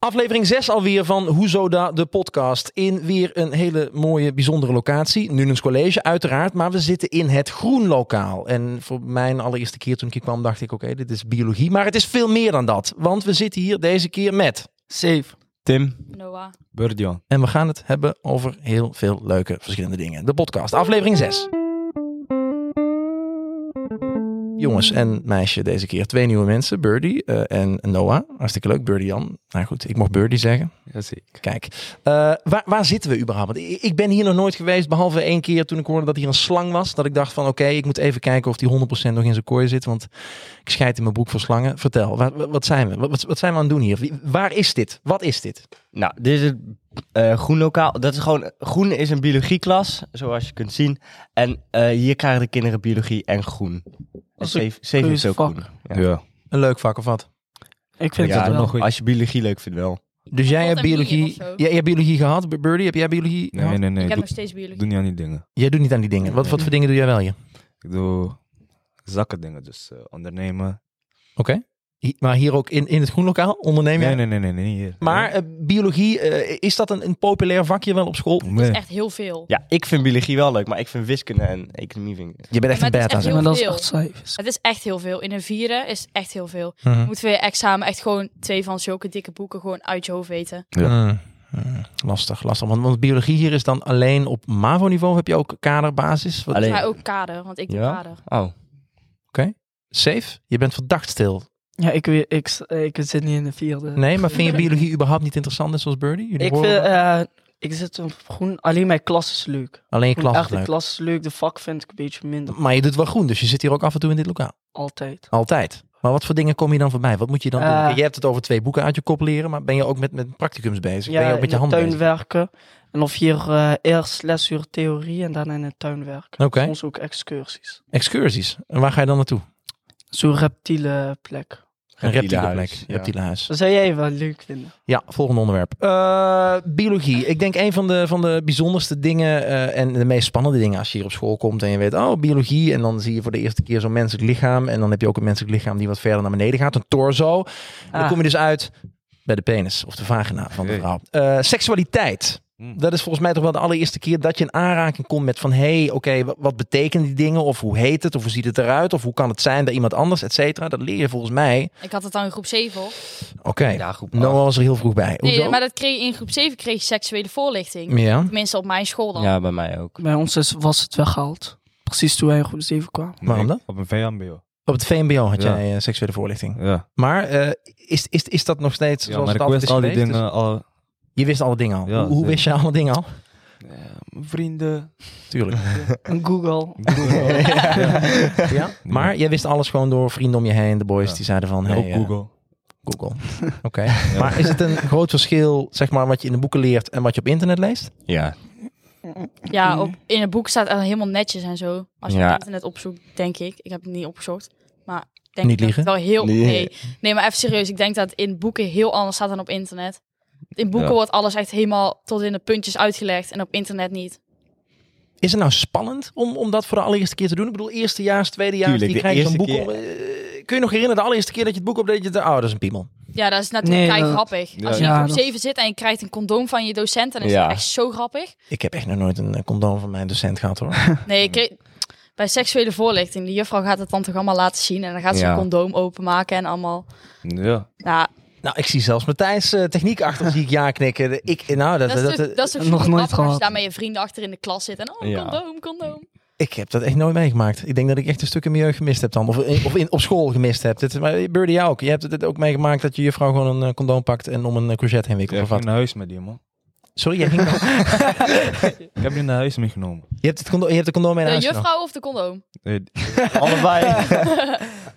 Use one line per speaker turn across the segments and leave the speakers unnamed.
Aflevering 6 alweer van Hoezo Da, de podcast. In weer een hele mooie, bijzondere locatie. Nunens College, uiteraard. Maar we zitten in het groenlokaal. En voor mijn allereerste keer toen ik hier kwam, dacht ik: oké, dit is biologie. Maar het is veel meer dan dat. Want we zitten hier deze keer met.
Safe.
Tim,
Noah.
Burdion.
En we gaan het hebben over heel veel leuke verschillende dingen. De podcast, aflevering 6. Jongens en meisje deze keer. Twee nieuwe mensen, Birdie eh, en Noah. Hartstikke leuk, Birdie Jan. Nou goed, ik mocht Birdie zeggen.
Jazeker.
Kijk, eh, waar, waar zitten we überhaupt? Want i- Ik ben hier nog nooit geweest, behalve één keer toen ik hoorde dat hier een slang was. Dat ik dacht van oké, ik moet even kijken of die 100% nog in zijn kooi zit. Want ik scheid in mijn broek voor slangen. Vertel, waar- wat, zijn we? Wat, wat zijn we aan het doen hier? Wie- Waar is dit? Wat is dit?
Nou, dit is het eh, groen lokaal. Dat is gewoon, groen is een biologieklas, zoals je kunt zien. En eh, hier krijgen de kinderen biologie en groen. En
is een
zeven zeven is ook
keuzevak.
groen.
Ja.
Een leuk vak of wat?
Ik vind
Ja,
het wel.
nog goed.
Als je biologie leuk vindt wel.
Dus jij
Wat
hebt
en wie
biologie,
of zo?
jij, jij hebt biologie gehad, B- Birdie? Heb jij biologie
Nee,
gehad?
nee, nee.
ik heb
Doe,
nog steeds biologie.
doe niet aan die dingen.
Jij doet niet aan die dingen. Wat, wat voor dingen doe jij wel hier?
Ik doe zakken dingen, dus eh, ondernemen.
Oké. Hi- Maar hier ook in, in het groenlokaal ondernemen?
Nee, nee, nee, nee, nee, niet hier.
Maar eh, biologie, eh, is dat een, een populair vakje wel op school?
Nee.
Echt heel veel.
Ja, ik vind biologie wel leuk, maar ik vind wiskunde en economie vind ik...
Je bent echt
Ja,
een
maar het
beta.
is echt
zeg.
maar dat is
heel
echt cijfers.
Het is echt heel veel. In een vieren is echt heel veel.
Mhm.
Moeten we je examen echt gewoon twee van zulke dikke boeken gewoon uit je hoofd weten.
Ja.
Mm, mm, Lastig, lastig. Want, want biologie hier is dan alleen op MAVO-niveau. Heb je ook kaderbasis? Wat,
Alleen-
Maar ook kader, want ik doe
Ja?
kader.
Oh.
Safe? Je bent verdacht stil.
Ja, ik, weet, ik, ik zit niet in de vierde.
Nee, maar vind je biologie überhaupt niet interessant, net zoals Birdie? Jullie
Ik vind,
horen dat?
eh, ik zit op groen, alleen mijn klas is leuk.
alleen je
Gewoon
klas
echt
is
de
leuk.
klas is leuk, de vak vind ik een beetje minder.
Maar je doet wel groen, dus je zit hier ook af en toe in dit lokaal.
Altijd.
Altijd. Maar wat voor dingen kom je dan voorbij? Wat moet je dan doen?
Eh.
Kijk, Je hebt het over twee boeken uit je kop leren, maar ben je ook met, met practicums bezig? ben Dus je ook
in
met je
de
handen
tuin
bezig?
werken. En of hier eh, eerst lesuur theorie en daarna in de tuin werken.
Oké,
Soms ook excursies.
excursies. En waar ga je dan naartoe?
Zo'n reptiele plek.
Een reptiele
Reptielenhuis,
plek,
ja.
reptielenhuis.
Dat zou jij wel leuk vinden.
Ja, volgende onderwerp. Eh, biologie. Ik denk een van de, van de bijzonderste dingen eh, en de meest spannende dingen als je hier op school komt en je weet, oh, biologie. En dan zie je voor de eerste keer zo'n menselijk lichaam. En dan heb je ook een menselijk lichaam die wat verder naar beneden gaat, een torso. En dan
Ah.
kom je dus uit bij de penis of de vagina van de
Oké.
vrouw. Eh, seksualiteit.
Hmm.
Dat is volgens mij toch wel de allereerste keer dat je in aanraking komt met van... hé, hey, oké, wa- wat, betekenen die dingen? Of hoe heet het? Of hoe ziet het eruit? Of hoe kan het zijn bij iemand anders, et cetera? Dat leer je volgens mij.
Ik had het dan in groep 7. hoor.
Oké,
Ja, groep
Noah was er heel vroeg bij.
Nee,
Hoezo?
maar dat kreeg, in groep 7 kreeg je seksuele voorlichting.
Ja.
Tenminste op mijn school dan.
Ja, bij mij ook.
Bij ons is, was het weggehaald. Precies toen wij in groep 7 kwamen.
Waarom dan?
Op een VMBO.
Op het VMBO had
Ja.
jij eh, seksuele voorlichting.
Ja.
Maar eh, is, is, is dat nog steeds
ja
zoals
maar
het
ik
altijd
wist
is
al die
geweest?
dingen al.
Dus je wist alle dingen al.
Ja,
hoe hoe wist je alle dingen al?
eh, vrienden.
Tuurlijk.
En Google.
ja? Maar jij wist alles gewoon door vrienden om je heen. De boys
Ja.
die zeiden van... Hey,
ook
eh,
Google.
Google. Oké. Maar is het een groot verschil, zeg maar, wat je in de boeken leert en wat je op internet leest?
Ja.
Ja, op, in het boek staat het helemaal netjes en zo. Als je
Ja.
het internet opzoekt, denk ik. Ik heb het niet opgezocht. Maar ik denk
Niet
dat het
liegen?
wel heel...
Nee.
Nee. Nee. maar even serieus. Ik denk dat het in boeken heel anders staat dan op internet. In boeken
Ja.
wordt alles echt helemaal tot in de puntjes uitgelegd. En op internet niet.
Is het nou spannend om, om dat voor de allereerste keer te doen? Ik bedoel, eerstejaars, tweedejaars,
Tuurlijk,
die
de
krijgen zo'n boek.
eerste
om, eh, kun je nog herinneren de allereerste keer dat je het boek opdeed? Je dacht, oh, dat is een piemel.
Ja, dat is natuurlijk
Nee,
kei
dat-
grappig.
Ja.
Als je in
Ja,
groep
dat-
7 zit en je krijgt een condoom van je docent... dan is
Ja.
dat echt zo grappig.
Ik heb echt nog nooit een eh, condoom van mijn docent gehad, hoor.
Nee, ik kreeg- Bij seksuele voorlichting, de juffrouw gaat het dan toch allemaal laten zien. En dan gaat ze
Ja.
een condoom openmaken en allemaal.
Ja.
Nou,
nou, ik zie zelfs Matthijs eh, techniek achter, zie ik ja knikken. Ik, nou, dat,
dat, is
dat,
toch- dat is toch
nog
super
nooit
grappig als je
gehad.
daar met je vrienden achter in de klas zit. En oh,
Ja.
condoom, condoom.
ik heb dat echt nooit meegemaakt. Ik denk dat ik echt een stuk in mijn jeugd gemist heb dan. Of, in- of in, op school gemist heb. Dit, maar eh, Birdie, jou ook. Je hebt het ook meegemaakt dat je juffrouw gewoon een eh, condoom pakt en om een eh, courgette heen wikkelt.
Ik
of
ging
wat?
naar huis met die man.
Sorry, jij ging
Ik heb die naar huis meegenomen.
Je hebt het condoom, je hebt de condoom mee naar
De
huis genomen.
juffrouw of de condoom?
Eh,
Allebei.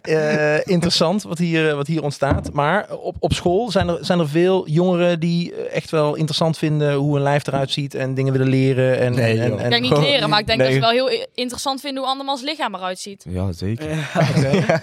Eh, interessant wat hier, eh, wat hier ontstaat. Maar op, op school zijn er, zijn er veel jongeren die eh, echt wel interessant vinden hoe een lijf eruit ziet en dingen willen leren. En,
Nee,
en,
joh.
en,
Ik denk niet
gewoon-
leren, maar ik denk
Nee.
dat ze wel heel i- interessant vinden hoe andermans lichaam eruit ziet.
Ja, zeker.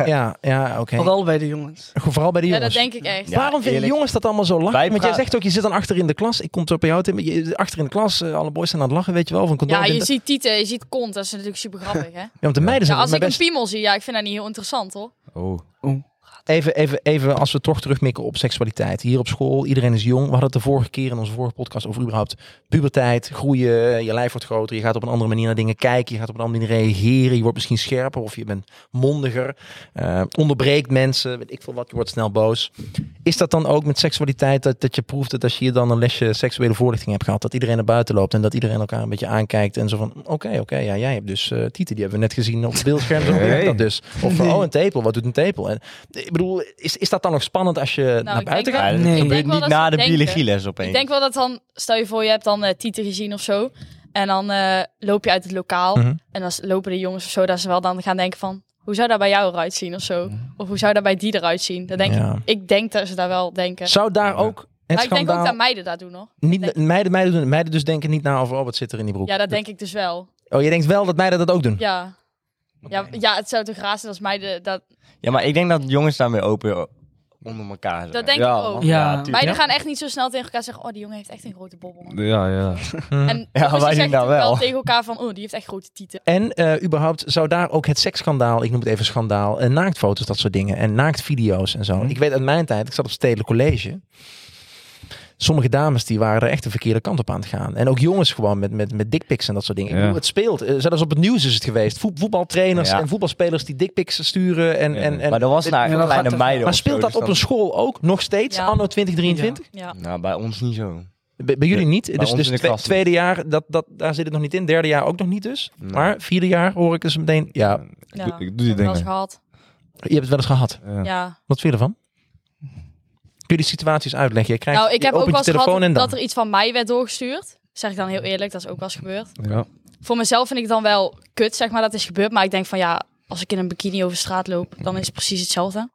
Ja, ja oké.
Vooral bij de jongens.
Vooral bij de
Ja,
jongens.
dat denk ik echt.
Ja,
Waarom vinden
eerlijk.
jongens dat allemaal zo lachen?
Wij
Want jij
praten-
zegt ook, je zit dan achter in de klas. Ik kom zo bij jou, Tim. Je- Achter in de klas, eh, alle boys zijn aan het lachen, weet je wel. Van condoom.
Ja, je
Ja,
ziet tieten, je ziet kont. Dat is natuurlijk super grappig, hè?
want de meiden
Ja,
zijn volgens
als
mij
ik een
best...
piemel zie, ja, ik vind dat niet heel interessant, hoor.
Oh.
Oh.
Even, even, even als we toch terugmikken op seksualiteit. Hier op school, iedereen is jong. We hadden het de vorige keer in onze vorige podcast over überhaupt puberteit, groeien. Je lijf wordt groter, je gaat op een andere manier naar dingen kijken. Je gaat op een andere manier reageren. Je wordt misschien scherper of je bent mondiger. eh, onderbreekt mensen, weet ik veel wat. Je wordt snel boos. Is dat dan ook met seksualiteit dat, dat je proeft dat als je hier dan een lesje seksuele voorlichting hebt gehad, dat iedereen naar buiten loopt en dat iedereen elkaar een beetje aankijkt en zo van, oké, oké, ja, jij hebt dus eh tieten, die hebben we net gezien op het beeldscherm. Zo werkt
Hey.
dat dus. Of van, oh, een tepel, wat doet een tepel? En, ik bedoel, is, is dat dan nog spannend als je naar
Nou, ik
buiten
denk
gaat?
Ja, dat
Nee. Ik
gebeurt
denk wel
niet
dat
na
ze
de
denken.
biologieles opeens.
Ik denk wel dat dan, stel je voor, je hebt dan eh tieten gezien of zo. En dan eh, loop je uit het lokaal.
Mhm.
En dan lopen de jongens of zo, dat ze wel dan gaan denken van... Hoe zou dat bij jou eruit zien of zo? Of hoe zou dat bij die eruit zien? Dat denk ik,
Ja.
ik denk dat ze daar wel denken.
Zou daar ook het
maar ik denk ook
schandaal...
dat meiden dat doen, hoor.
niet, meiden, meiden, doen, meiden dus denken niet na over, oh, wat zit er in die broek?
Ja, dat denk ik dus wel.
Oh, je denkt wel dat meiden dat ook doen?
Ja. Ja, ja, het zou toch raar zijn als meiden dat...
Ja, maar ik denk dat jongens daarmee open onder elkaar zijn.
Dat denk
ja,
ik ook.
man.
Ja.
tuurlijk.
Meiden gaan echt niet zo snel tegen elkaar zeggen... Oh, die jongen heeft echt een grote bobbel.
Ja, ja.
En
Ja,
jongens die
wij doen
zeggen
dat
toch wel.
wel.
tegen elkaar van... Oh, die heeft echt grote tieten.
En eh, überhaupt zou daar ook het seksschandaal, ik noem het even schandaal, en naaktfoto's, dat soort dingen. En naaktvideo's en zo.
Hm.
Ik weet uit mijn tijd, ik zat op stedelijk college. Sommige dames die waren er echt de verkeerde kant op aan het gaan. En ook jongens gewoon met, met, met dickpics en dat soort dingen. Ik
Ja.
bedoel, het speelt. Eh, Zelfs op het nieuws is het geweest. Voet- voetbaltrainers
Ja.
en voetbalspelers die dickpics sturen. En,
Ja.
en, en,
Maar dat was naar
Ja, dat gaat
kleine
toch-
meiden
maar
of zo,
speelt dat
dus
op een school ook nog steeds,
Ja.
anno 2023?
Ja.
Nou, bij ons niet zo.
Bij, bij jullie
Nee,
niet.
bij
dus
ons
dus
in de
twe-
klas niet.
tweede jaar, dat, dat, daar zit het nog niet in. Derde jaar ook nog niet dus.
Nee.
Maar vierde jaar hoor ik dus meteen, ja,
Ik, doe, ik doe
heb
die
ik wel eens
dingen.
gehad.
je hebt het wel eens gehad.
Ja.
Ja.
Wat vind je ervan? Kun je die situaties uitleggen? Je krijgt
Nou, ik
je
heb ook
opent
wel
je
eens
telefoon
gehad
en dan.
dat er iets van mij werd doorgestuurd. Zeg ik dan heel eerlijk, dat is ook wel eens gebeurd.
Ja.
Voor mezelf vind ik het dan wel kut, zeg maar, dat is gebeurd. Maar ik denk van ja, als ik in een bikini over straat loop, dan is het precies hetzelfde.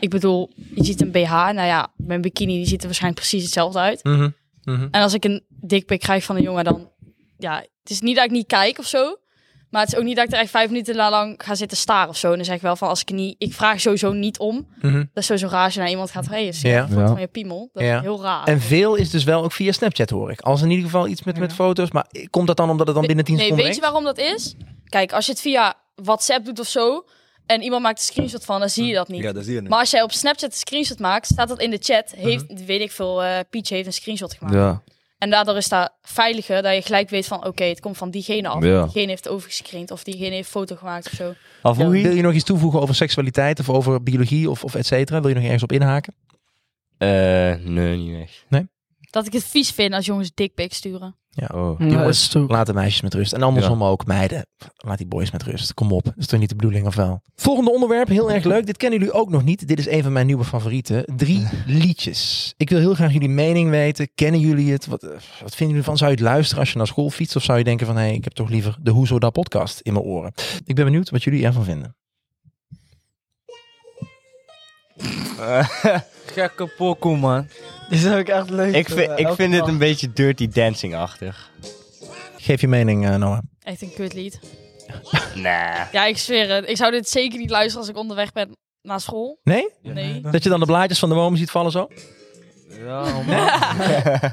Ik bedoel, je ziet een BH. Nou ja, mijn bikini die ziet er waarschijnlijk precies hetzelfde uit.
Mhm, mhm.
En als ik een dikpik krijg van een jongen, dan... Ja, het is niet dat ik niet kijk of zo. Maar het is ook niet dat ik er echt vijf minuten la- lang ga zitten staren of zo. En dan zeg ik wel van, als ik niet... Ik vraag sowieso niet om.
Mhm.
Dat is sowieso raar als je naar iemand gaat... Hé, hey, is
Ja.
een foto
Ja.
van je piemel? Dat is
Ja.
heel raar.
En veel is dus wel ook via Snapchat hoor ik. Als in ieder geval iets met, met foto's. Maar komt dat dan omdat het dan binnen 10
nee,
seconden
weet je waarom dat is? Kijk, als je het via WhatsApp doet of zo... En iemand maakt een screenshot van, dan zie je dat niet.
dat zie je niet.
Maar als jij op Snapchat een screenshot maakt, staat dat in de chat. Heeft, weet ik veel, eh Peach heeft een screenshot gemaakt.
Ja.
En daardoor is dat veiliger, dat je gelijk weet van... Oké, het komt van diegene af.
Ja.
Diegene heeft overgescreend of diegene heeft foto gemaakt of zo.
Of hoe
Wil je nog iets toevoegen over seksualiteit of over biologie of, of et cetera? Wil je nog ergens op inhaken?
Eh, nee, niet echt.
Dat ik het vies vind als jongens dikpics sturen.
Oh.
Ja, dat is
Jongens,
toch-
laat de meisjes met rust. En andersom ook, meiden. Laat die boys met rust. Kom op. Dat is toch niet de bedoeling, of wel? Volgende onderwerp, heel erg leuk. Dit kennen jullie ook nog niet. Dit is een van mijn nieuwe favorieten. Drie liedjes. Ik wil heel graag jullie mening weten. Kennen jullie het? Wat, eh, wat vinden jullie ervan? Zou je het luisteren als je naar school fietst? Of zou je denken van, hé, hey, ik heb toch liever de Hoezo Da podcast in mijn oren? Ik ben benieuwd wat jullie ervan vinden. Eh,
Gekke pokoe, man.
Dit is ook echt leuk.
Ik vind, ik vind dit een beetje dirty dancing-achtig.
Geef je mening, eh, Noah.
Echt een kut lied.
Nah.
Ja, ik zweer het. Ik zou dit zeker niet luisteren als ik onderweg ben naar school.
Nee?
Nee.
Dat je dan de blaadjes van de bomen ziet vallen zo?
Ja, man.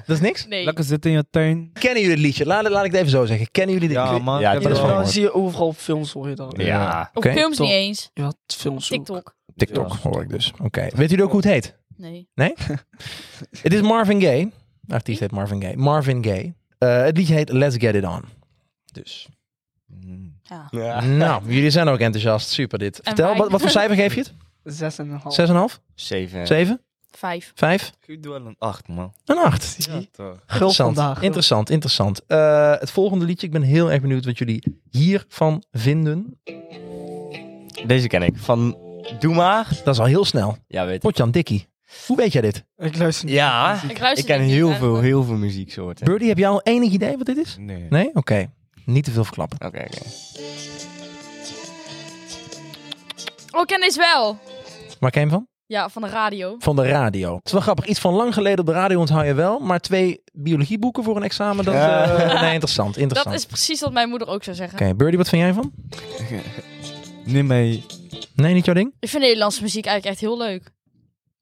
Dat is niks?
Nee.
Lekker zitten in je tuin.
Kennen jullie het liedje? Laat, laat ik het even zo zeggen. Kennen jullie dit
Ja, man.
Ja,
Ik heb
dit
het
is
wel
wel
Dat
gehoord.
zie je overal op films, hoor je dan.
Ja.
Ja.
Op
Oké,
films
top.
niet eens.
Ja, films ook.
TikTok.
TikTok
Ja.
hoor ik dus. Oké. Weet jullie ook hoe het heet?
Nee.
Het is Marvin Gaye. De artiest heet Marvin Gaye. Marvin Gaye. Eh, het liedje heet Let's Get It On. Dus.
Ja.
Ja.
Nou, jullie zijn ook enthousiast. Super dit. Vertel,
wij-
wat, wat voor cijfer geef je het?
Zes en een half.
6,5?
Zeven.
7?
Vijf.
5?
Ik doe wel een 8, man.
Een 8.
Zie.
toch.
Gul
Interessant,
vandaag. gul.
interessant. interessant. Eh, het volgende liedje, ik ben heel erg benieuwd wat jullie hiervan vinden.
Deze ken ik. Van Doe maar.
Dat is al heel snel.
Ja, weet ik.
Potjan Dikkie. Hoe weet jij dit?
Ik luister niet.
Ja.
Ik luister
Ik ken
dit niet,
heel
hè.
veel, heel veel muzieksoorten.
Birdie, heb jij al enig idee wat dit is?
Nee.
Nee? Oké. Niet te veel verklappen.
Oké, oké.
Oh, ik ken deze wel.
Waar ken je hem van?
Ja, van de radio.
Van de radio. Het is wel grappig. Iets van lang geleden op de radio onthoud je wel. Maar twee biologieboeken voor een examen, dat...
Ja.
eh, nee, interessant.
Dat
Interessant.
is precies wat mijn moeder ook zou zeggen.
Oké, Birdie, wat vind jij van?
Neem mij.
Nee, niet jouw ding?
Ik vind Nederlandse muziek eigenlijk echt heel leuk.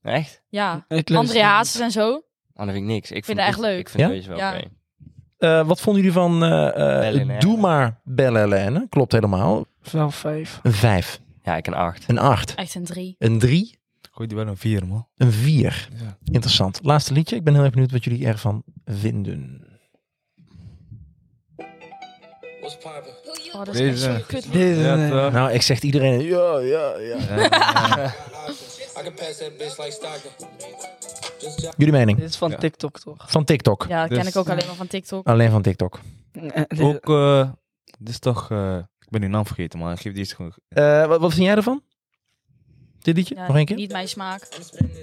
Echt?
Ja.
Ik luister
André
niet.
Hazes en zo.
Oh, dat vind ik niks.
vind
Ik vind
het echt
ik-
leuk.
Ik vind
Ja?
deze wel
Ja.
oké.
Eh, wat vonden jullie van eh, eh,
Bellen, hè?
Doe maar bellen, Helene? Klopt helemaal.
Wel vijf.
Een 5,
Ja, ik een acht.
een 8,
Echt een drie.
een 3.
gooi die wel een vier, man.
Een 4.
Ja.
Interessant. Laatste liedje. Ik ben heel erg benieuwd wat jullie ervan vinden.
Oh, dat is echt
Deze.
zo'n kut. lied.
Dit is
Ja,
een-
toch?
Nou, ik zeg iedereen. Ja, ja,
I
ja.
can pass that bitch like Stockton.
Jullie mening?
dit is van
Ja.
TikTok, toch?
Van TikTok.
Ja, dat
Dus-
ken ik ook alleen maar van TikTok.
Alleen van TikTok.
Ook, eh dit is toch... eh, ik ben die naam vergeten, maar geef die eens gewoon...
Eh, wat, wat vind jij ervan? Dit liedje?
Ja,
Nog één keer?
Niet mijn smaak.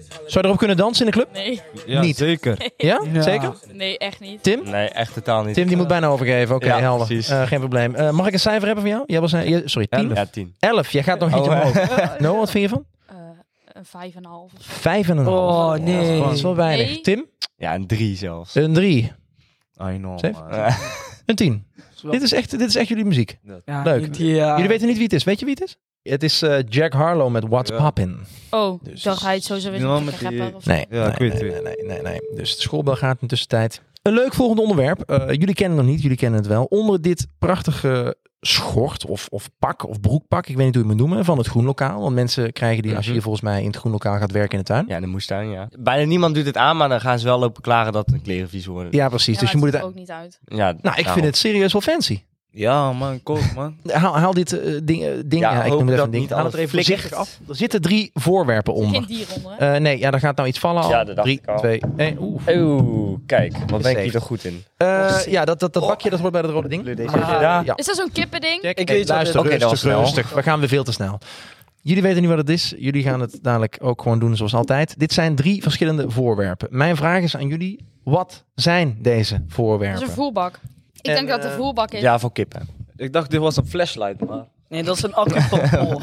Zou je erop kunnen dansen in de club?
Nee,
Ja,
Niet.
zeker.
Ja?
Ja.
Zeker?
nee, echt niet.
Tim?
Nee, echt totaal niet.
Hm? Tim, die moet bijna overgeven. Oké,
Ja,
helder.
precies.
Eh, geen probleem. Eh, mag ik een cijfer hebben van jou? Jij was, een- je- sorry, 10?
Ja, tien.
11. Jij gaat nog niet
Oh, eh.
omhoog. No, wat vind je van?
Eh, een vijf en een half. of zo.
Vijf en een half.
Oh, nee.
Dat is wel weinig.
Nee.
Tim?
Ja, een drie zelfs.
Een 3.
I know,
Safe?
man.
Eh,
Een 10.
wel-
Dit is, echt, dit is echt jullie muziek.
Ja,
Leuk.
niet die, eh,
Jullie weten niet wie het is. Weet je wie het is? Ah. Het is eh, Jack Harlow met What's
Ja.
Poppin'.
Oh,
Dus-
ik dacht hij het sowieso weer
Ja,
een
met die-
rapper of zo.
Nee,
Ja,
nee,
ik weet
nee,
het
nee, nee, nee, nee. Dus de schoolbel gaat in de tussentijd. Een leuk volgend onderwerp. Eh, jullie kennen het nog niet, jullie kennen het wel. Onder dit prachtige schort of, of pak of broekpak, ik weet niet hoe je het moet noemen, van het groenlokaal. Want mensen krijgen die als je hier volgens mij in het groenlokaal gaat werken in de tuin. Ja,
Mhm. ja, de moestuin, ja. Bijna niemand doet het aan, maar dan gaan ze wel lopen klagen dat hun kleren vies worden.
precies.
Ja,
dus je
maar
moet
het
het...
ziet er ook niet uit.
Ja,
Nou, ik vind het serieus wel fancy.
Ja, man, koop, man.
Haal, haal dit eh, ding, eh, ding
Ja,
ja, ik
hoop
noem het even
dat
een ding.
niet
Haal het
alles
even
flikkert.
voorzichtig af. Er zitten drie voorwerpen onder.
Geen dier onder, hè?
Eh, nee, ja, daar gaat nou iets vallen al.
Ja, dat dacht
drie,
ik al.
twee, één. Oeh.
Oeh, kijk, wat ben ik
Safe.
hier toch goed in?
Eh, ja, dat, dat, dat bakje dat hoort bij dat rode ding.
Ah, Oh. ja.
Ja.
Is dat zo'n kippending?
Check.
Ik
Hey,
weet wat
luister,
dit is. Oké, dat was
rustig,
snel.
rustig. We gaan weer veel te snel. Jullie weten nu wat het is. Jullie gaan het dadelijk ook gewoon doen zoals altijd. Dit zijn drie verschillende voorwerpen. Mijn vraag is aan jullie. Wat zijn deze
Dat is
voorwerpen?
een voerbak. Ik
En,
denk dat het
eh,
een voerbak is.
Ja, voor kippen.
Ik dacht, dit was een flashlight, man.
Nee, dat is een accu van oor.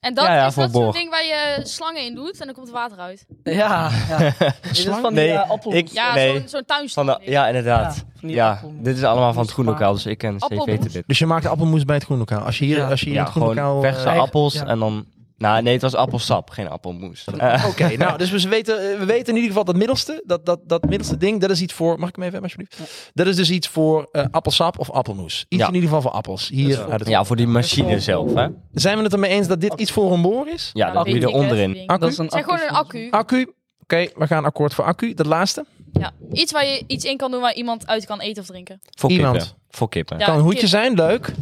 En dat
Ja, ja,
is dat zo'n
voorborg.
ding waar je slangen in doet en dan komt water uit.
Ja, ja. Dit is van die
Nee,
eh, appel.
ik-
Ja,
Nee.
zo'n zo'n tuinslang.
Van de, ja, inderdaad.
Ja, van
Ja,
die appel-
dit is allemaal van het groenlokaal, dus ik ken
Appelmoes.
CV beter dit.
Dus je maakt appelmoes bij het groenlokaal. Als je hier,
Ja.
als je hier
Ja,
in het groenlokaal...
gewoon verse
eh,
eigen-
appels
ja.
en dan... Nou, nee, het was appelsap, geen appelmoes. Eh,
Oké, nou, dus we weten, eh, we weten in ieder geval dat middelste, dat, dat, dat middelste ding, dat is iets voor, mag ik hem even hebben alsjeblieft? Dat is dus iets voor eh, appelsap of appelmoes. Iets
Ja.
in ieder geval voor appels. Hier
wel-
uit het-
ja, voor die machine zelf, hè?
Zijn we het ermee eens dat dit iets voor een boor is?
Ja, dat doe je
Weet ik
eronder
het,
in.
ding.
Accu?
Dat is een
Het zijn gewoon een accu.
Accu. Oké, we gaan akkoord voor accu. Dat laatste.
Ja. Iets waar je iets in kan doen waar iemand uit kan eten of drinken.
Voor
Iemand.
kippen. Voor kippen.
Ja,
kan een hoedje
kip.
zijn, leuk.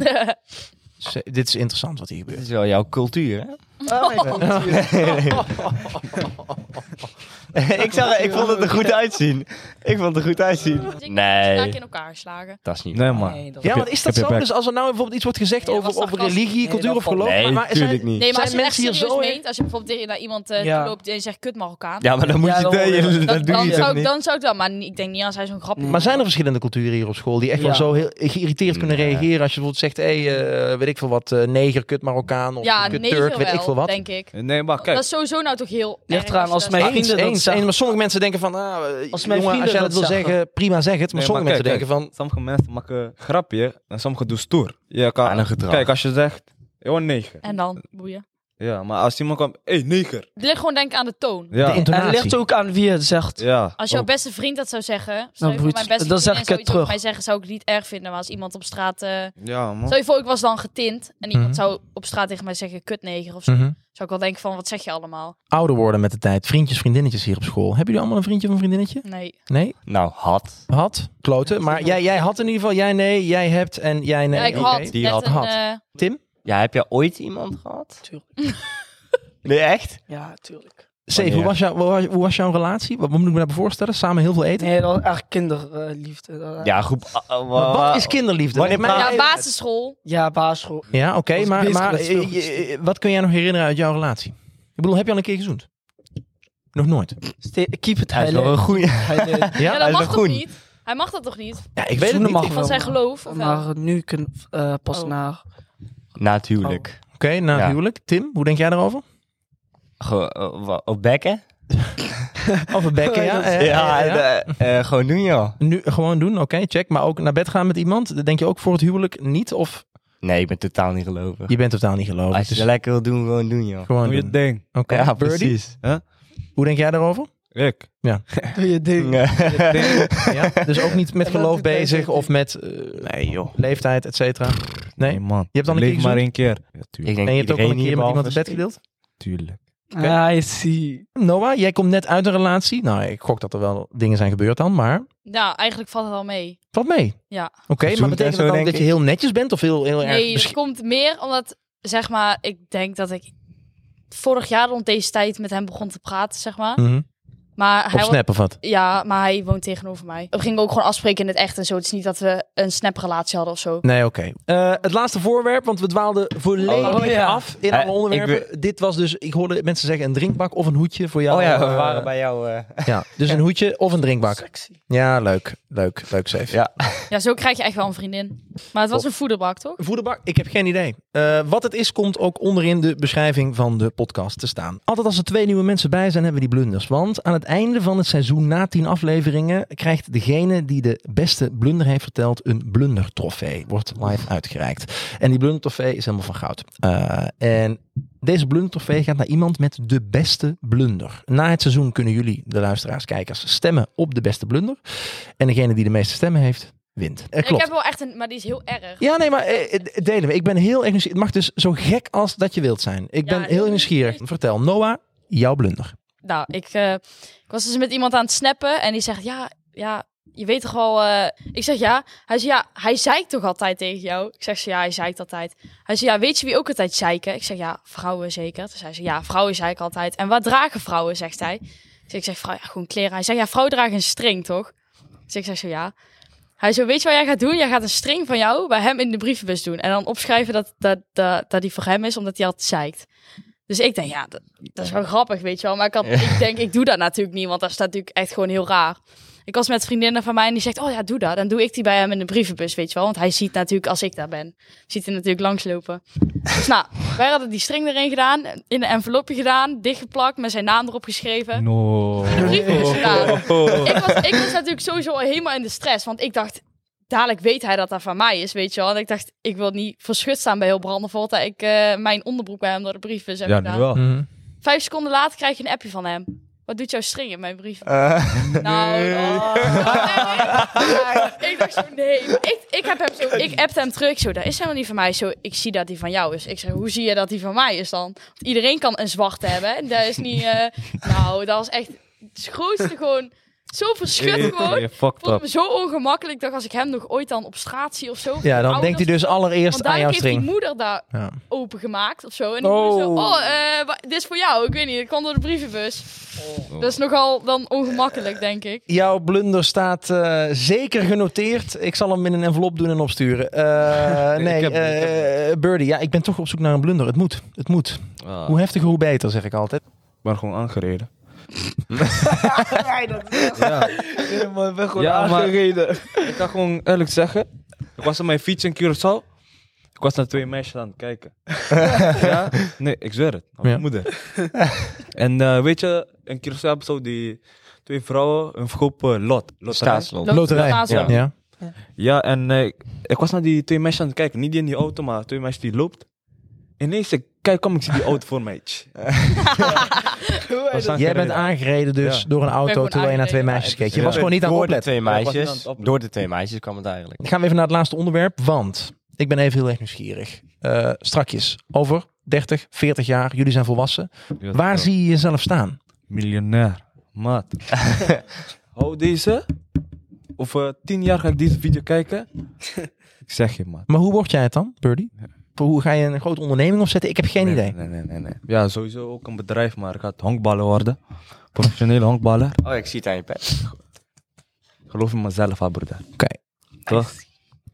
Ze- dit is interessant wat hier
Dit
gebeurt.
is wel jouw cultuur, hè?
Oh,
ik, zag, ik vond het er goed uitzien. Ik vond het er goed uitzien.
Dus ik
Nee.
ga ik in elkaar slagen.
Dat is niet
Nee, man.
Nee, dat
Ja, maar is dat
Heb je
zo?
back.
Dus als er nou bijvoorbeeld iets wordt gezegd
Nee, dat
over,
was
over
sarcastisch.
religie,
Nee,
cultuur
dat
of
valt
geloof,
Nee,
maar is
natuurlijk niet.
Nee, maar als je
Zijn
het echt
mensen hier
serieus
zo in?
meent, als je bijvoorbeeld tegen naar iemand eh,
Ja.
loopt en zegt kut Marokkaan.
Ja, maar dan moet
Ja,
je...
dan
nee,
hoor je-
dat doe
dan,
je
zou
toch
ik,
niet?
dan zou ik dat, maar ik denk niet als hij zo'n grap
Nee.
Mm. Maar zijn er verschillende culturen hier op school die echt wel
Ja.
zo heel geïrriteerd kunnen
Nee.
reageren als je bijvoorbeeld zegt, hé, hey, weet ik veel wat, eh, neger, kut Marokkaan of
Ja,
kut
nee,
Turk, weet ik
wel,
veel wat.
denk ik.
Nee, maar
Dat
kijk.
is sowieso nou toch heel
Ligt
erg
eraan
je
als
dat
mijn
zegt.
Eens,
vrienden dat
eens,
zeggen.
eens. Maar sommige mensen denken van, ah, eh,
Als mijn
jongen, als
vrienden
jij dat
dat
wil
zeggen.
zeggen, prima zeg het. Maar
Nee,
sommige
maar
mensen
kijk,
denken van,
Sommige mensen maken grapje en sommige doen stoer. Ja, kan-
Aan een gedrag.
kijk, als je zegt, joh, neger.
En dan, boeien.
Ja, maar als iemand komt, hé, hey, neger.
Het ligt gewoon denk ik aan de toon.
de
Ja, Oh.
En het ligt
intonatie.
ook aan wie het zegt.
ja.
Als jouw
ook.
beste vriend dat zou zeggen, zou je voor
broed,
mijn beste
dan zeg
vriendin
ik het
zoiets over
terug.
mij zeggen, zou ik het niet erg vinden. Maar als iemand op straat... eh
Ja, man.
Stel je voor, ik was dan getint en iemand
Mhm.
zou op straat tegen mij zeggen kutneger of zo.
Mhm.
Zou ik wel denken van, wat zeg je allemaal?
Ouder worden met de tijd. Vriendjes, vriendinnetjes hier op school. Hebben jullie allemaal een vriendje of een vriendinnetje?
Nee.
Nee?
Nou, had.
Had? Kloten? Maar jij, jij had in ieder geval, jij nee, jij hebt en jij nee.
Ja, ik
Oké.
had
die
net
had-
een...
had.
eh,
Tim?
Ja, heb jij ooit iemand gehad?
Tuurlijk.
Nee, echt?
Ja, tuurlijk.
Steve, hoe
Wanneer?
was, jou, hoe, was, hoe was jouw relatie? Wat moet ik me daarbij voorstellen? Samen heel veel eten?
Nee, dat is echt kinderliefde. Dat-
Ja, groep... ah,
Maar
ah, wa-
wat is kinderliefde?
Wanneer
Leg mij
praat-
Ah, Ja,
even-
basisschool.
Ja, basisschool.
Ja, oké,
was
maar,
bezig
maar
met veel
eh, eh, eh, wat kun jij nog herinneren uit jouw relatie? Ik bedoel, heb je al een keer gezoend? Nog nooit.
Ste- keep it
Hij is
heilig.
wel een goeie.
Heilig.
Ja,
Ja,
dat
is
mag
wel
toch
groen.
niet? Hij mag dat toch niet?
ja ik weet het niet.
Zoenen mag
Ik- Oké,
Van zijn
maar-
geloof? Of wel? eh,
Maar nu kun eh pas
Oh.
naar.
Natuurlijk.
na het
Ja.
huwelijk. Tim, hoe denk jij daarover?
Gewoon, eh, wa- op bekken?
Over bekken, ja? eh,
ja,
eh, ja.
en, eh, eh, gewoon doen joh.
Nu gewoon doen, oké, check. Maar ook naar bed gaan met iemand, dat denk je ook voor het huwelijk niet? Of
Nee, ik ben totaal niet gelovig.
je bent totaal niet geloven?
Als je het lekker wil doen, gewoon doen joh.
gewoon
Doe je
doen.
ding.
Oké.
Ja,
Birdie,
precies.
Hoe denk jij daarover?
Ik.
Doe je ding.
Ja? Dus ook niet met
En dan
geloof
doet hij
bezig
dit
of met eh,
Nee joh.
leeftijd, et cetera. Nee?
man.
Je hebt dan een
Leef
keer
maar
gezoend?
één keer. Ja, tuurlijk.
Ik denk
En je hebt ook al een keer met iemand het bed
het
gedeeld?
tuurlijk.
I see.
Noah, jij komt net uit een relatie. Nou, ik gok dat er wel dingen zijn gebeurd dan, maar
Ja, eigenlijk valt het al mee.
valt mee.
Ja.
Oké, maar
Gezoend en
betekent
zo,
dat dan
denk
dat je
ik.
heel netjes bent of heel, heel erg...
Nee,
besch-
het komt meer omdat, zeg maar, ik denk dat ik vorig jaar rond deze tijd met hem begon te praten, zeg maar.
Mhm.
Maar
Op
hij,
snap of wat?
Ja, maar hij woont tegenover mij. We gingen ook gewoon afspreken in het echt en zo. Het is niet dat we een snaprelatie hadden of zo.
Nee, oké. Eh, het laatste voorwerp, want we dwaalden volledig
Oh, ja.
af in
Eh,
alle onderwerpen.
ik
Dit was dus, ik hoorde mensen zeggen een drinkbak of een hoedje voor jou.
Oh ja, we
Eh,
waren bij jou. eh,
ja, dus een hoedje of een drinkbak.
Sexy.
Ja, leuk. Leuk, leuk, safe.
Ja.
Ja, zo krijg je echt wel een vriendin. Maar het was een voederbak, toch?
Voederbak, ik heb geen idee. Eh, wat het is, komt ook onderin de beschrijving van de podcast te staan. Altijd als er twee nieuwe mensen bij zijn, hebben we die blunders. Want aan het einde van het seizoen, na tien afleveringen, krijgt degene die de beste blunder heeft verteld een blundertrofee. Wordt live uitgereikt. En die blundertrofee is helemaal van goud. Eh, en deze blundertrofee gaat naar iemand met de beste blunder. Na het seizoen kunnen jullie, de luisteraars, kijkers, stemmen op de beste blunder. En degene die de meeste stemmen heeft, wint. Eh, klopt.
Ik heb wel echt een, maar die is heel erg.
Ja, nee, maar eh, eh, delen we. Ik ben heel erg nieuwsgierig. Het mag dus zo gek als dat je wilt zijn. Ik ben
Ja,
heel
nee.
nieuwsgierig. Vertel, Noah, jouw blunder.
Nou, ik, eh, ik was dus met iemand aan het snappen en die zegt, ja, ja, je weet toch wel... eh, Ik zeg, ja. Hij zegt, ja, hij zeikt toch altijd tegen jou? Ik zeg, ze, ja, hij zeikt altijd. Hij zegt, ja, weet je wie ook altijd zeiken? Ik zeg, ja, vrouwen zeker. Dus hij zegt, ja, vrouwen zeiken altijd. En wat dragen vrouwen, zegt hij. Dus ik zeg, vrouw, ja, gewoon kleren. Hij zegt, ja, vrouwen dragen een string, toch? Dus ik zeg zo, ja. Hij zo, weet je wat jij gaat doen? Jij gaat een string van jou bij hem in de brievenbus doen. En dan opschrijven dat, dat, dat, dat die voor hem is, omdat hij altijd zeikt. Dus ik denk, ja, dat, dat is wel grappig, weet je wel. Maar ik, had, ik denk, ik doe dat natuurlijk niet, want dat staat natuurlijk echt gewoon heel raar. Ik was met vriendinnen van mij en die zegt, oh ja, doe dat. Dan doe ik die bij hem in de brievenbus, weet je wel. Want hij ziet natuurlijk, als ik daar ben, ziet hij natuurlijk langslopen. Dus nou, wij hadden die string erin gedaan, in een envelopje gedaan, dichtgeplakt, met zijn naam erop geschreven.
No.
Brievenbus gedaan.
Oh.
Ik, was, ik was natuurlijk sowieso al helemaal in de stress, want ik dacht, dadelijk weet hij dat dat van mij is, weet je wel. En ik dacht, ik wil niet verschut staan bij heel Brandenvoort, dat ik eh, mijn onderbroek bij hem door de brievenbus heb
Ja, nu
gedaan.
Oh.
wel.
Mhm.
Vijf seconden later krijg je een appje van hem. Wat doet jouw string in mijn brief?
eh,
Nou, oh. Nee. ik dacht zo, nee. Maar ik, ik, heb hem zo, ik appte hem terug. Ik Zo, dat is helemaal niet van mij. Zo, ik zie dat die van jou is. Ik zeg, hoe zie je dat die van mij is dan? Want iedereen kan een zwarte hebben. En dat is niet... eh, nou, dat was echt het grootste gewoon... Zo verschut
Eh,
gewoon.
Je
Ik
fucked
voelde
up.
me zo ongemakkelijk. Ik dacht, als ik hem nog ooit dan op straat zie of zo.
Ja, dan
ouders-
denkt hij dus
Oh, Want
allereerst aan jouw
dadelijk heeft
string.
die moeder daar
Ja.
opengemaakt of zo. En die moeder zo,
Oh.
oh, eh, wa- dit is voor jou. Ik weet niet, ik kwam door de brievenbus.
Oh.
Dat is nogal dan ongemakkelijk, denk ik.
Jouw blunder staat eh, zeker genoteerd. Ik zal hem in een envelop doen en opsturen. Eh,
Ik
nee,
heb hem, ik
eh, Birdie, ja, ik ben toch op zoek naar een blunder. Het moet, het moet.
Ah,
Hoe heftiger, hoe beter, zeg ik altijd.
Ik ben gewoon aangereden.
helemaal weg
Ja, Ik kan gewoon eerlijk zeggen. Ik was op mijn fiets in Curaçao. Ik was naar twee meisjes aan het kijken. ja? Nee, ik zweer het. Aan
Ja.
Mijn moeder. en eh, weet je, in Curaçao hebben ze zo die twee vrouwen een verkopen lot. Loterij.
Staatslot.
Lo-
Loterij.
Lo-
Ja.
Lo-
Ja.
Ja, en eh, ik was naar die twee meisjes aan het kijken. Niet die in die auto, maar twee meisjes die loopt. Ineens, ik kijk om, ik zie die auto voor mij. Was
Jij
aangereden.
bent aangereden dus
Ja.
door een
Ik ben
auto
gewoon
terwijl je naar twee
aangereden.
meisjes
Ja, het
keek.
is-
Je was gewoon niet aan het
Door de
opletten.
twee
Ja, ik was niet aan
meisjes.
het opletten.
Door de twee meisjes kwam het eigenlijk.
Dan gaan we even naar het laatste onderwerp, want ik ben even heel erg nieuwsgierig. Eh, strakjes, over 30, 40 jaar, jullie zijn volwassen.
Ja,
Waar
ja.
zie je jezelf staan?
Miljonair. Maat. Hou deze. Of eh, tien jaar ga ik deze video kijken. ik zeg je, maat.
Maar hoe word jij het dan, Birdie?
Ja.
Hoe ga je een grote onderneming opzetten? Ik heb geen
Nee,
idee.
Nee, nee, nee, nee. Ja, sowieso ook een bedrijf, maar ik ga het honkballen worden. Professionele honkballer.
Oh, ik zie het aan je pet.
Geloof in mezelf, hè, broeder.
Oké.
Toch?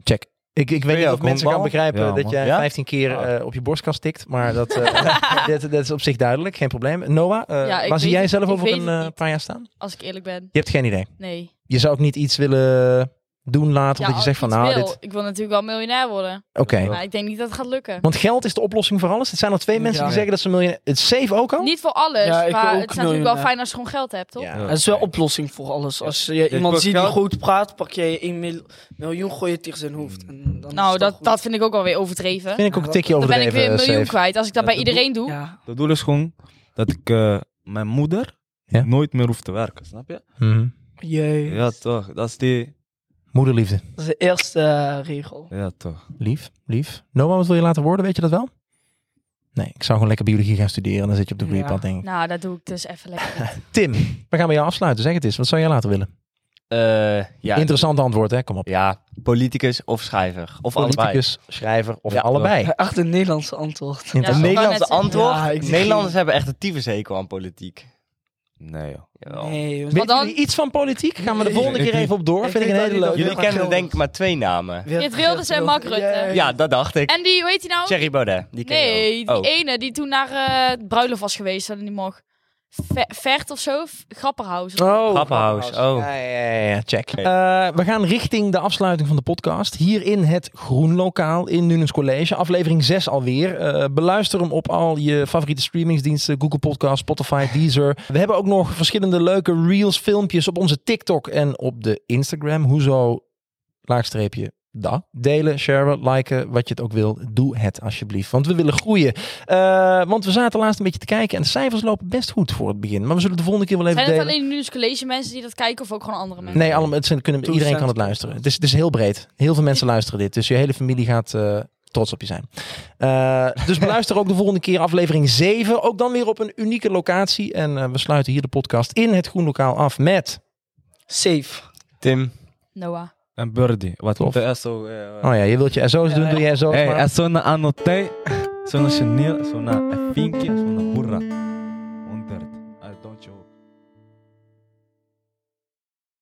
Check. Ik, ik weet
je
niet of
ook
mensen gaan
honkballen?
begrijpen
Ja,
dat
man.
jij
Ja?
15 keer eh, op je borstkast tikt. Maar dat, eh, dat, dat is op zich duidelijk, geen probleem. Noah, eh,
Ja, ik
waar zie
weet
jij
het-
zelf
ik
over
weet
een
het
eh,
niet.
paar jaar staan?
Als ik eerlijk ben,
Je hebt geen idee.
nee.
Je zou ook niet iets willen doen laten of dat
als
je zegt van
ik iets
nou,
wil,
dit...
Ik wil natuurlijk wel miljonair worden.
Oké.
Maar ik denk niet dat het gaat lukken.
Want geld is de oplossing voor alles. Het zijn al twee mensen
Ja.
die zeggen dat ze miljonair... Het safe ook al?
Niet voor alles,
Ja, ik wil
maar
ook
het is natuurlijk wel
miljonair.
fijn als je gewoon geld hebt, toch?
Ja.
Ja.
Dat is wel oplossing voor alles. Als je
wil
iemand ziet die
geld.
goed praat, pak jij 1 mil- miljoen, gooi je tegen zijn hoofd. En dan
Nou,
is dat,
dat, dat vind ik ook alweer overdreven.
Vind ik ook een tikje
Dan ben
overdreven.
ik weer een
eh,
miljoen
safe.
kwijt. Als ik dat
Ja,
bij
dat
iedereen
goed.
doe,
Ja.
Het doel is gewoon dat ik eh, mijn moeder
Ja?
nooit meer hoef te werken, snap je?
Mhm.
Jee.
Ja, toch. Dat is die...
Moederliefde.
Dat is de eerste eh, regel.
Ja, toch.
Lief, lief. Noah, wat wil je laten worden? Weet je dat wel? Nee, ik zou gewoon lekker biologie gaan studeren. Dan zit je op de
Ja.
groeipad, denk ik.
Nou, dat doe ik dus even lekker. niet.
Tim, we gaan bij jou afsluiten. Zeg het eens. Wat zou jij laten willen?
Eh, ja,
Interessant antwoord, hè? Kom op.
ja, politicus of schrijver. Of allebei.
Politicus, schrijver of
Ja,
allebei.
Echt een Nederlandse antwoord.
Ja,
Het
Interessant.
nee.
Nederlandse
Ik wou net zeggen.
antwoord.
Ja, ik-
Nederlanders hebben echt een tyfushekel aan politiek.
Nee, joh.
Jawel.
Nee, jongens.
Weet
Maar dan-
jullie iets van politiek? Gaan we de
Nee.
volgende keer even op door.
Ik
Vind ik
weet
een
dat
hele
niet,
leuke.
hoor.
Jullie
Geert
kennen
Wilders.
denk ik maar twee namen.
Geert
Wilders en Mark Rutte.
Yeah.
Ja, dat dacht ik.
En die, hoe heet die nou?
Thierry Baudet. Die ken je
nee,
ook.
die
Oh.
ene die toen naar eh bruiloft was geweest en die mocht. Ve- Vert of zo? V- Grapperhaus.
Oh,
Grappenhuis. Oh.
Ja, ja, ja, ja, check. Eh, we gaan richting de afsluiting van de podcast. Hier in het Groenlokaal in Nunens College. Aflevering 6 alweer. Eh, beluister hem op al je favoriete streamingsdiensten. Google Podcast, Spotify, Deezer. We hebben ook nog verschillende leuke reels, filmpjes op onze TikTok en op de Instagram. Hoezo? Laagstreepje. Da. Delen, sharen, liken, wat je het ook wil. Doe het alsjeblieft, want we willen groeien. Eh, want we zaten laatst een beetje te kijken en de cijfers lopen best goed voor het begin. Maar we zullen de volgende keer wel even
Zijn het
delen.
alleen nu dus college mensen die dat kijken of ook gewoon andere mensen?
Nee, allemaal, het zijn, kunnen,
Toestemming.
iedereen kan het luisteren. Het is, het is heel breed. Heel veel mensen luisteren dit. Dus je hele familie gaat eh, trots op je zijn. Eh, dus beluister ook de volgende keer aflevering 7. Ook dan weer op een unieke locatie. En eh, we sluiten hier de podcast in het Groenlokaal af met...
Safe.
e-
Tim.
Noah.
En Birdie. Wat
Tof.
op de SO. eh,
Oh ja, je wilt je SO's doen, doe je SO's
Hey,
maar.
en zo'n anotei, zo'n chenil, zo'n vinkje, zo'n burra. Ah,